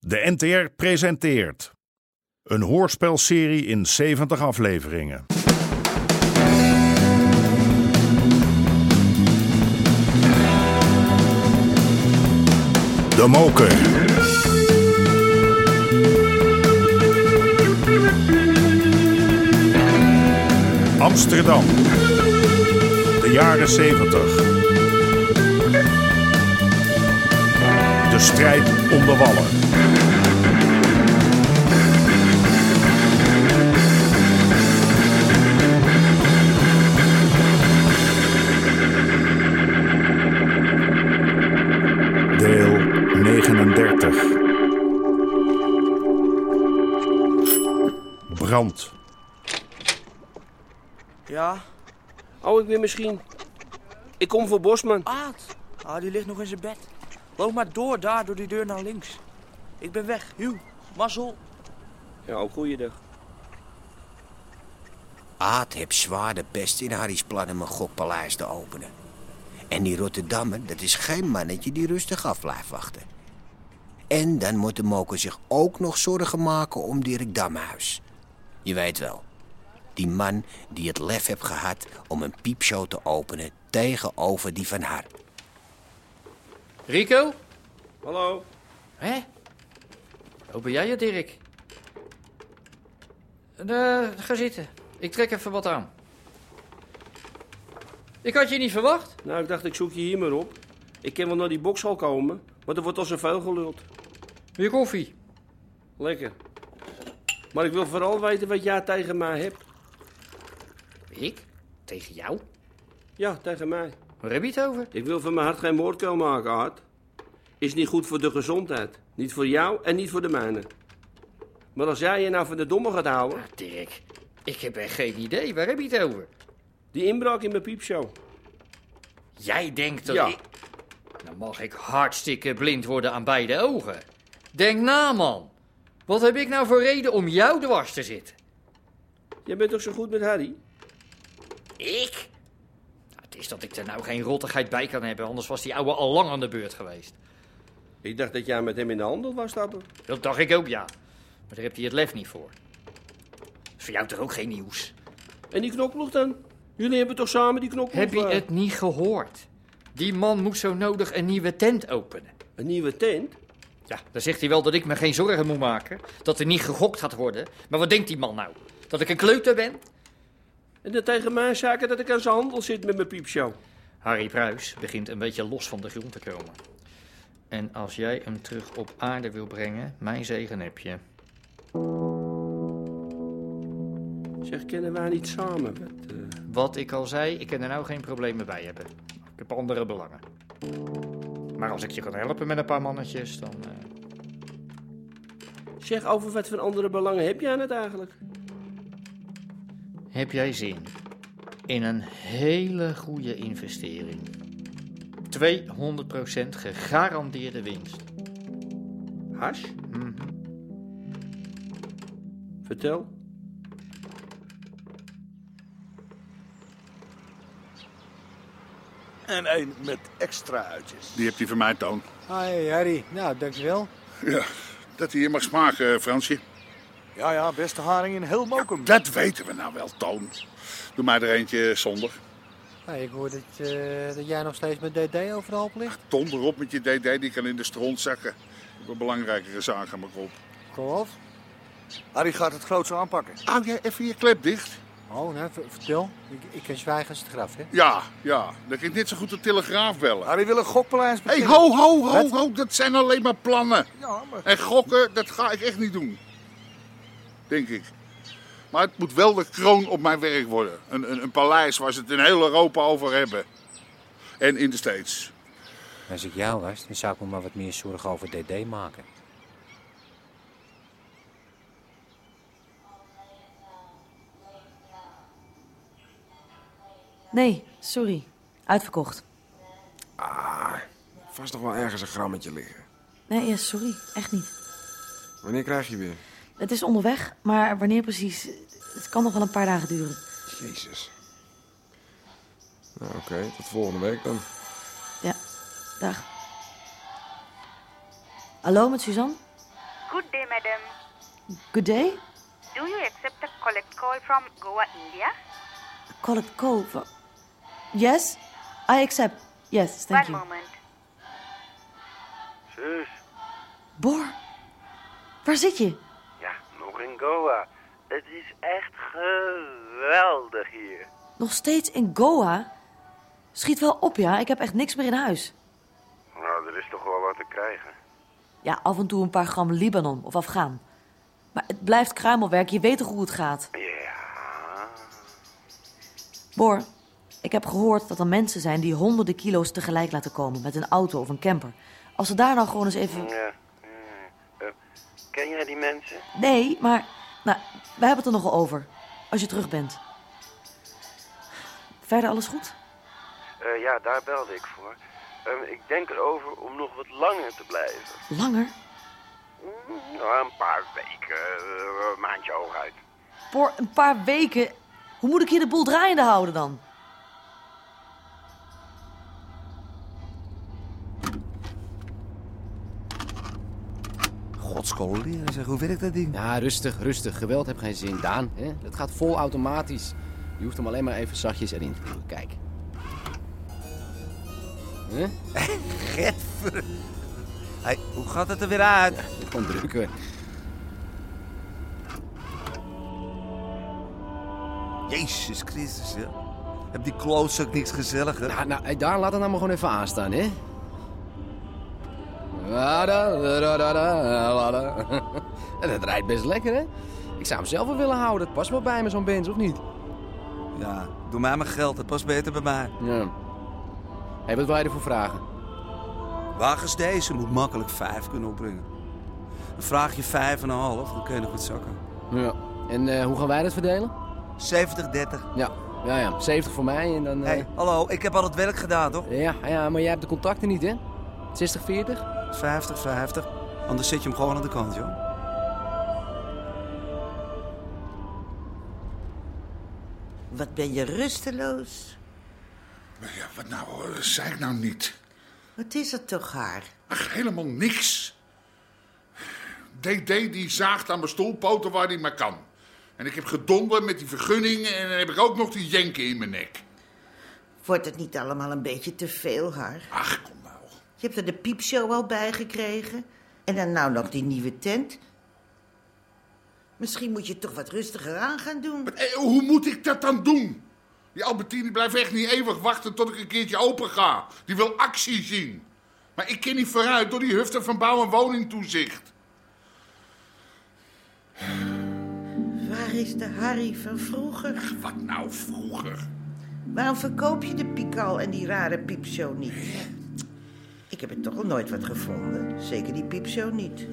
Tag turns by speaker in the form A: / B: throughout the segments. A: De NTR presenteert een hoorspelserie in 70 afleveringen. De Moker. Amsterdam. De jaren 70. De strijd om de wallen. Deel 39. Brand.
B: Ja, oh, ik ben misschien. Ik kom voor Bosman.
C: Aad. Ah, die ligt nog in zijn bed. Loop maar door daar, door die deur naar links. Ik ben weg. Huw, mazzel.
B: Ja, ook goeiedag.
D: Aad heeft zwaar de pest in Harry's plan om een gokpaleis te openen. En die Rotterdammer, dat is geen mannetje die rustig af blijft wachten. En dan moet de moker zich ook nog zorgen maken om Dirk Damhuis. Je weet wel, die man die het lef heeft gehad om een piepshow te openen tegenover die van haar.
E: Rico?
B: Hallo.
E: Hé? Oh, ben jij het, Dirk? Eh, ga zitten. Ik trek even wat aan. Ik had je niet verwacht.
B: Nou, ik dacht, ik zoek je hier maar op. Ik kan wel naar die boxhal komen, maar er wordt al zoveel geluld.
E: Weer koffie.
B: Lekker. Maar ik wil vooral weten wat jij tegen mij hebt.
E: Ik? Tegen jou?
B: Ja, tegen mij.
E: Waar heb je het over?
B: Ik wil van mijn hart geen moordkuil maken, Art. Is niet goed voor de gezondheid. Niet voor jou en niet voor de mijne. Maar als jij je nou van de domme gaat houden,
E: Ah, Dirk, ik heb echt geen idee. Waar heb je het over?
B: die inbraak in mijn piepshow.
E: Jij denkt dat
B: Ja.
E: ik... Dan mag ik hartstikke blind worden aan beide ogen. Denk na, man. Wat heb ik nou voor reden om jou dwars te zitten?
B: Jij bent toch zo goed met Harry?
E: Ik? Nou, Het is dat ik er nou geen rottigheid bij kan hebben, anders was die ouwe al lang aan de beurt geweest.
B: Ik dacht dat jij met hem in de handel was stappen.
E: Dat dacht ik ook, ja. Maar daar heb hij het lef niet voor. Is voor jou toch ook geen nieuws?
B: En die knopploeg dan? Jullie hebben toch samen die knopploeg?
E: Heb je
B: eh,
E: het niet gehoord? Die man moet zo nodig een nieuwe tent openen.
B: Een nieuwe tent?
E: Ja, dan zegt hij wel dat ik me geen zorgen moet maken. Dat er niet gegokt gaat worden. Maar wat denkt die man nou? Dat ik een kleuter ben?
B: En dan tegen mij zaken dat ik aan zijn handel zit met mijn piepshow.
E: Harry Pruis begint een beetje los van de grond te komen. En als jij hem terug op aarde wil brengen, mijn zegen heb je.
B: Zeg, kennen wij niet samen? Wat, eh,
E: Wat ik al zei, ik kan er nou geen problemen bij hebben. Ik heb andere belangen. Maar als ik je kan helpen met een paar mannetjes, dan. eh,
B: Zeg, over wat voor andere belangen heb jij het eigenlijk?
E: heb jij zin in een hele goede investering? 200% gegarandeerde winst.
B: Hash?
E: Mhm.
B: Vertel.
F: En één met extra uitjes.
G: Die heb je van mij, Toon.
H: Hi Harry, nou dankjewel.
G: Ja, dat hij hier mag smaken, eh, Fransje.
F: Ja, ja, beste haring in heel Mokum.
G: Dat weten we nou wel, Toon. Doe mij er eentje zonder.
H: Hey, ik hoor dat, eh, dat jij nog steeds met DD overal op ligt.
G: Ton erop met je DD, die kan in de stront zakken. Ik heb een belangrijkere zaak aan mijn kop.
H: Kom op.
F: Harry gaat het grootste aanpakken.
G: Hou jij even je klep dicht?
H: Oh, nou, ver- vertel. Ik, ik kan zwijgen als het graf, hè?
G: Ja, ja. Dan kan ik net zo goed de telegraaf bellen.
F: Harry wil een gokpaleis
G: Hé, hey,
F: beginnen.
G: ho, ho, ho, ho. Dat zijn alleen maar plannen.
F: Ja, maar...
G: En gokken, dat ga ik echt niet doen. Denk ik. Maar het moet wel de kroon op mijn werk worden. Een, een, een paleis waar ze het in heel Europa over hebben. En in de States.
D: Als ik jou was, dan zou ik me maar wat meer zorgen over DD maken.
I: Nee, sorry. Uitverkocht.
J: Vast nog wel ergens een grammetje liggen.
I: Nee, ja, sorry. Echt niet.
J: Wanneer krijg je weer?
I: Het is onderweg, maar wanneer precies? Het kan nog wel een paar dagen duren.
J: Jezus. Nou, oké. Tot volgende week dan.
I: Ja, dag. Hallo, met Suzanne?
K: Good day, madam.
L: Good day.
K: Do you accept a collect call from Goa, India?
L: Collect call for... Yes? I accept. Yes, thank
K: One
L: you.
K: moment.
M: Zus,
L: Bor, waar zit je?
M: ja, nog in Goa. Het is echt geweldig hier.
L: Nog steeds in Goa? Schiet wel op, ja. Ik heb echt niks meer in huis.
M: Nou, er is toch wel wat te krijgen.
L: Ja, af en toe een paar gram Libanon of Afghaan. Maar het blijft kruimelwerk. Je weet toch hoe het gaat?
M: Ja.
L: Bor, ik heb gehoord dat er mensen zijn die honderden kilo's tegelijk laten komen met een auto of een camper. Als ze daar nou gewoon eens even.
M: Ja. Eh, ken jij die mensen?
L: Nee, maar. Nou, we hebben het er nogal over. Als je terug bent. Verder alles goed?
M: Eh, ja, daar belde ik voor. Eh, ik denk erover om nog wat langer te blijven.
L: Langer?
M: Mm, nou, een paar weken, eh, een maandje hooguit.
L: Voor een paar weken. Hoe moet ik hier de boel draaiende houden dan?
D: Godskool leren zeg, hoe werkt dat ding? Ja, rustig, rustig. Geweld heeft geen zin, Daan. Hè? Het gaat vol automatisch. Je hoeft hem alleen maar even zachtjes erin te duwen. Kijk. Hè? Getver. hoe gaat het er weer uit? Ja, gewoon drukken. Jezus Christus, hè? Heb die klootzak niks gezelliger? Nou, nou hey, Daan, laat het nou maar gewoon even aanstaan, hè? La, da, la, da, da, da, la, da. En dat rijdt best lekker, hè? Ik zou hem zelf wel willen houden. Het past wel bij me, zo'n Benz, of niet? Ja, doe mij mijn geld. Het past beter bij mij. Ja. hey, wat wil je ervoor vragen?
H: Wagens deze moet makkelijk vijf kunnen opbrengen. Dan vraag je vijf en een half, dan kun je nog wat zakken.
D: Ja. En eh, hoe gaan wij dat verdelen? 70-30. Ja. Ja, ja. 70 voor mij en dan...
H: Hey,
D: hallo, ik heb al het werk gedaan, toch? Ja, ja, maar jij hebt de contacten niet, hè? 60-40?
H: 50, 50. Anders zet je hem gewoon aan de kant, joh.
I: Wat ben je rusteloos?
G: Ja, wat nou, hoor, zei ik nou niet?
I: Wat is het toch haar?
G: Ach, helemaal niks. DD die zaagt aan mijn stoelpoten waar hij maar kan. En ik heb gedonder met die vergunning en dan heb ik ook nog die jenken in mijn nek.
I: Wordt het niet allemaal een beetje te veel haar?
G: Ach, kom nou.
I: Je hebt er de piepshow al bij gekregen. En dan nou nog die nieuwe tent. Misschien moet je het toch wat rustiger aan gaan doen.
G: Eh, hoe moet ik dat dan doen? Die Albertine blijft echt niet eeuwig wachten tot ik een keertje open ga. Die wil actie zien. Maar ik ken niet vooruit door die hufter van bouw- en woningtoezicht.
I: Waar is de Harry van vroeger?
G: Wat nou vroeger?
I: Waarom verkoop je de pikal en die rare piepshow niet? Ik heb er toch al nooit wat gevonden. Zeker die piepshow niet.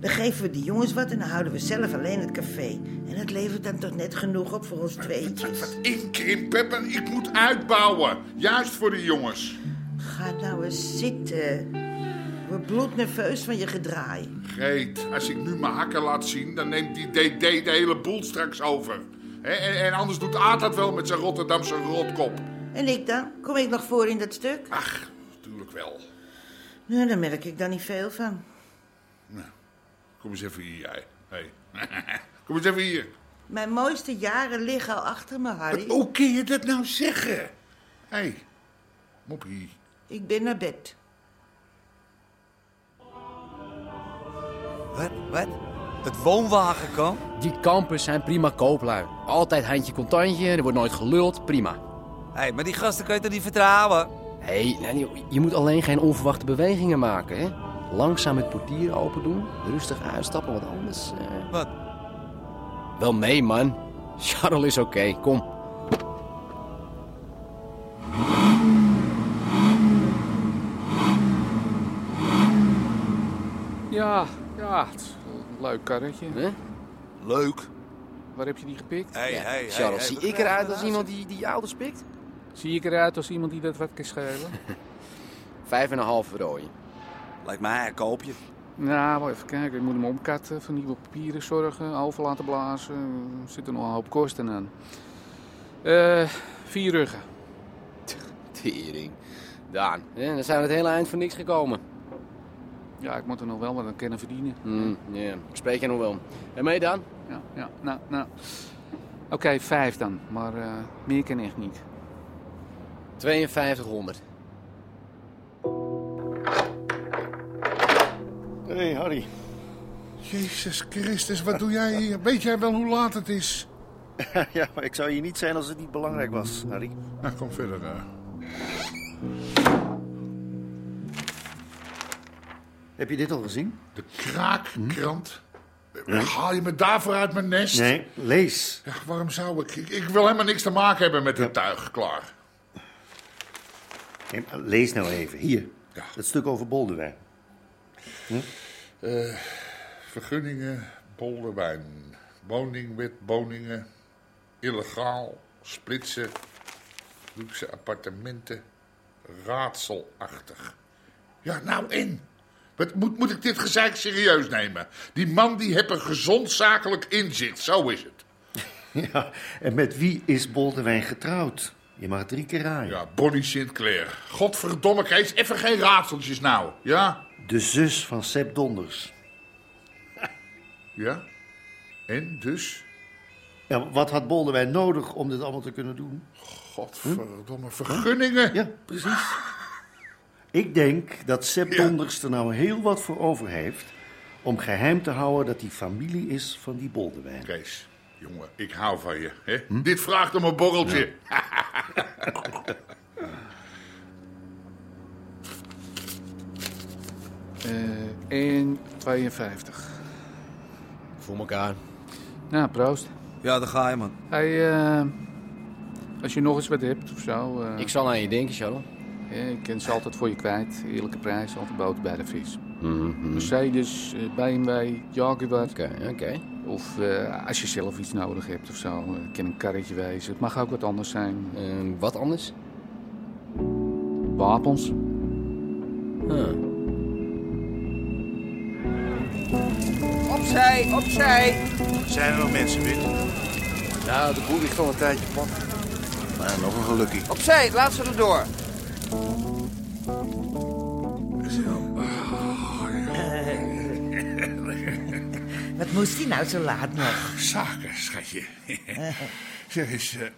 I: Dan geven we die jongens wat en dan houden we zelf alleen het café. En dat levert dan toch net genoeg op voor ons tweetjes.
G: Inkrimpen en ik moet uitbouwen. Juist voor de jongens.
I: Ga nou eens zitten. Ik word bloednerveus van je gedraai.
G: Greet, als ik nu mijn hakken laat zien, dan neemt die DD de hele boel straks over. Hè, En, en anders doet Aad dat wel met zijn Rotterdamse rotkop.
I: En ik dan? Kom ik nog voor in dat stuk?
N: Ah.
G: Ach. Natuurlijk wel.
I: Nou, daar merk ik dan niet veel van.
G: Nou, kom eens even hier, jij. Hey. kom eens even hier.
I: Mijn mooiste jaren liggen al achter me, Harry.
N: Oh.
G: Hoe kun je dat nou zeggen? Hé, hey. moppie.
I: Ik ben naar bed.
D: Wat? Wat? Het woonwagenkamp? Die campus zijn prima kooplui. Altijd handje contantje, er wordt nooit geluld, prima. Hé, maar die gasten kan je toch niet vertrouwen? Hé, nou, je- je moet alleen geen onverwachte bewegingen maken, hè? Langzaam het portier open doen, rustig uitstappen, want anders... Wat? Wel mee, man. Charles is oké, kom.
N: Ja, ja, het is een leuk karretje. Leuk. Waar heb je die gepikt?
D: Ja, hey, Charles, hey, zie we ik krijgen eruit als de iemand die, die je ouders pikt?
N: Zie ik eruit als iemand die dat wat kan schelen?
D: Vijf en een half rooien.
H: Lijkt mij een koopje.
N: nou, maar even kijken. Ik moet hem omkatten, voor nieuwe papieren zorgen, over laten blazen. Er zitten nog een hoop kosten aan. Eh, vier ruggen.
D: Tering. Daan, hè, dan zijn we het hele eind voor niks gekomen.
N: Ja, ik moet er nog wel wat aan kunnen verdienen.
D: Hmm, ja, ik spreek je nog wel. En mee dan?
N: Ja, ja, nou, nou. Oké, vijf dan. Maar eh, meer kan echt niet.
D: 5200.
G: Hé, hey, Harry. Jezus Christus, wat doe jij hier? Weet jij wel hoe laat het is?
O: ja, maar ik zou hier niet zijn als het niet belangrijk was, Harry.
G: Nou, kom verder.
O: Heb je dit al gezien? Hm?
G: De kraakkrant. Haal je me daarvoor uit mijn nest?
O: Nee, lees.
G: Ja, waarom zou ik? ik? ik wil helemaal niks te maken hebben met dit tuig. Klaar.
O: Nee, maar lees nou even. Hier, het stuk over Boldewijn. Hm?
G: Eh, vergunningen, bolderwijn. Woningwet, woningen. Illegaal, splitsen. Luxe appartementen. Raadselachtig. Ja, nou in. Wat, moet, moet ik dit gezeik serieus nemen? Die man die heeft een gezond zakelijk inzicht. Zo is het.
O: Ja, en met wie is Boldewijn getrouwd? Je mag drie keer raaien.
G: Ja, Bonnie Sinclair. Godverdomme, Kees. Even geen raadseltjes nou. Ja?
O: De zus van Sepp Donders.
G: Ja? En dus?
O: Ja, wat had Boldewijn nodig om dit allemaal te kunnen doen?
G: Godverdomme, vergunningen.
O: Ja, precies. Ik denk dat Sepp Donders er nou heel wat voor over heeft... om geheim te houden dat hij familie is van die Boldewijn.
G: Kees, jongen, ik hou van je. Hè? Dit vraagt om een borreltje.
N: Eh 1,52.
D: Voor elkaar.
N: Nou, proost.
H: Ja, daar ga je, man.
N: Hey, eh, als je nog eens wat hebt of zo.
D: Ik zal aan je denken, Charles.
N: Eh, ik ken ze altijd voor je kwijt. Eerlijke prijs, altijd boter bij de vis. Mercedes, eh, BMW, Jaguar. Oké,
D: Mhm. oké.
N: Of eh, als je zelf iets nodig hebt of zo. eh, Het kan een karretje wezen. Het mag ook wat anders zijn.
D: Ehm, wat anders?
N: Wapens.
H: Opzij, opzij.
O: Zijn er nog mensen binnen?
H: Nou, de boel ligt al een tijdje plat.
O: Maar nog een gelukkig.
H: Opzij, laat ze erdoor.
I: Wat moest hij nou zo laat nog?
G: Zaken, schatje. zeg eens, eh,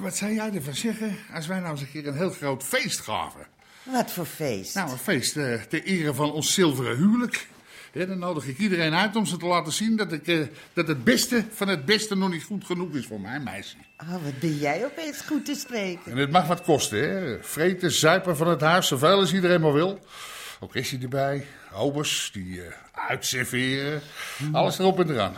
G: wat zou jij ervan zeggen als wij nou eens een keer een heel groot feest gaven?
I: Wat voor feest?
G: Nou, een feest eh, ter ere van ons zilveren huwelijk. Hè, dan nodig ik iedereen uit om ze te laten zien dat, ik, eh, dat het beste van het beste nog niet goed genoeg is voor mijn meisje.
I: Oh, wat ben jij opeens goed te spreken.
G: En het mag wat kosten, hè? Vreten, zuipen van het huis, zoveel als iedereen maar wil. Orkestje erbij, obers die eh, uitserveren. Alles erop en eraan.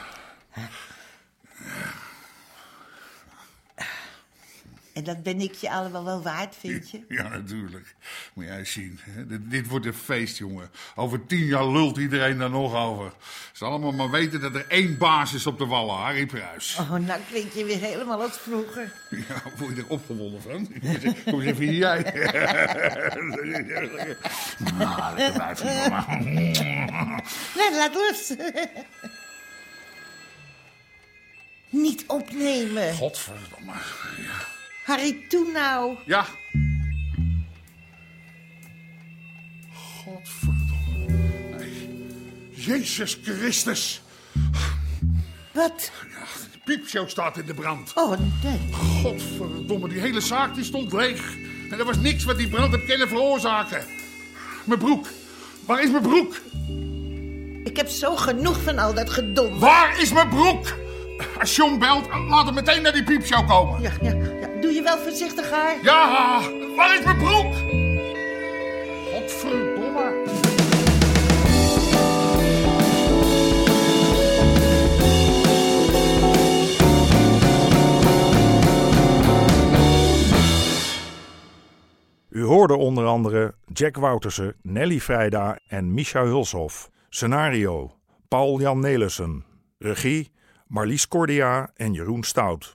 I: En dat ben ik je allemaal wel waard, vind je?
G: Ja, natuurlijk. Moet jij eens zien. Hè? Dit, dit wordt een feest, jongen. Over tien jaar lult iedereen daar nog over. Ze allemaal maar weten dat er één baas is op de wallen, Harry Pruis.
I: Oh, nou klink je weer helemaal als vroeger.
G: Ja, word je er opgewonden van? Kom eens even hier, jij. Ah, lekker wijfje, mama.
I: Nee, Nou, laat los. Niet opnemen.
G: Godverdomme.
I: Harry, toe nou.
G: Ja. Jezus Christus.
I: Wat?
G: Ja, de piepshow staat in de brand.
I: Oh, nee.
G: Godverdomme, die hele zaak die stond leeg. En er was niks wat die brand had kunnen veroorzaken. Mijn broek. Waar is mijn broek?
I: Ik heb zo genoeg van al dat gedonder.
G: Waar is mijn broek? Als John belt, laat hem meteen naar die piepshow komen.
I: Ja, ja, ja. Doe je wel voorzichtig, haar?
G: Ja, waar is mijn broek? Godverdomme.
A: U hoorde onder andere Jack Woutersen, Nelly Vrijda en Micha Hulshoff. Scenario: Paul-Jan Nelissen. Regie: Marlies Cordia en Jeroen Stout.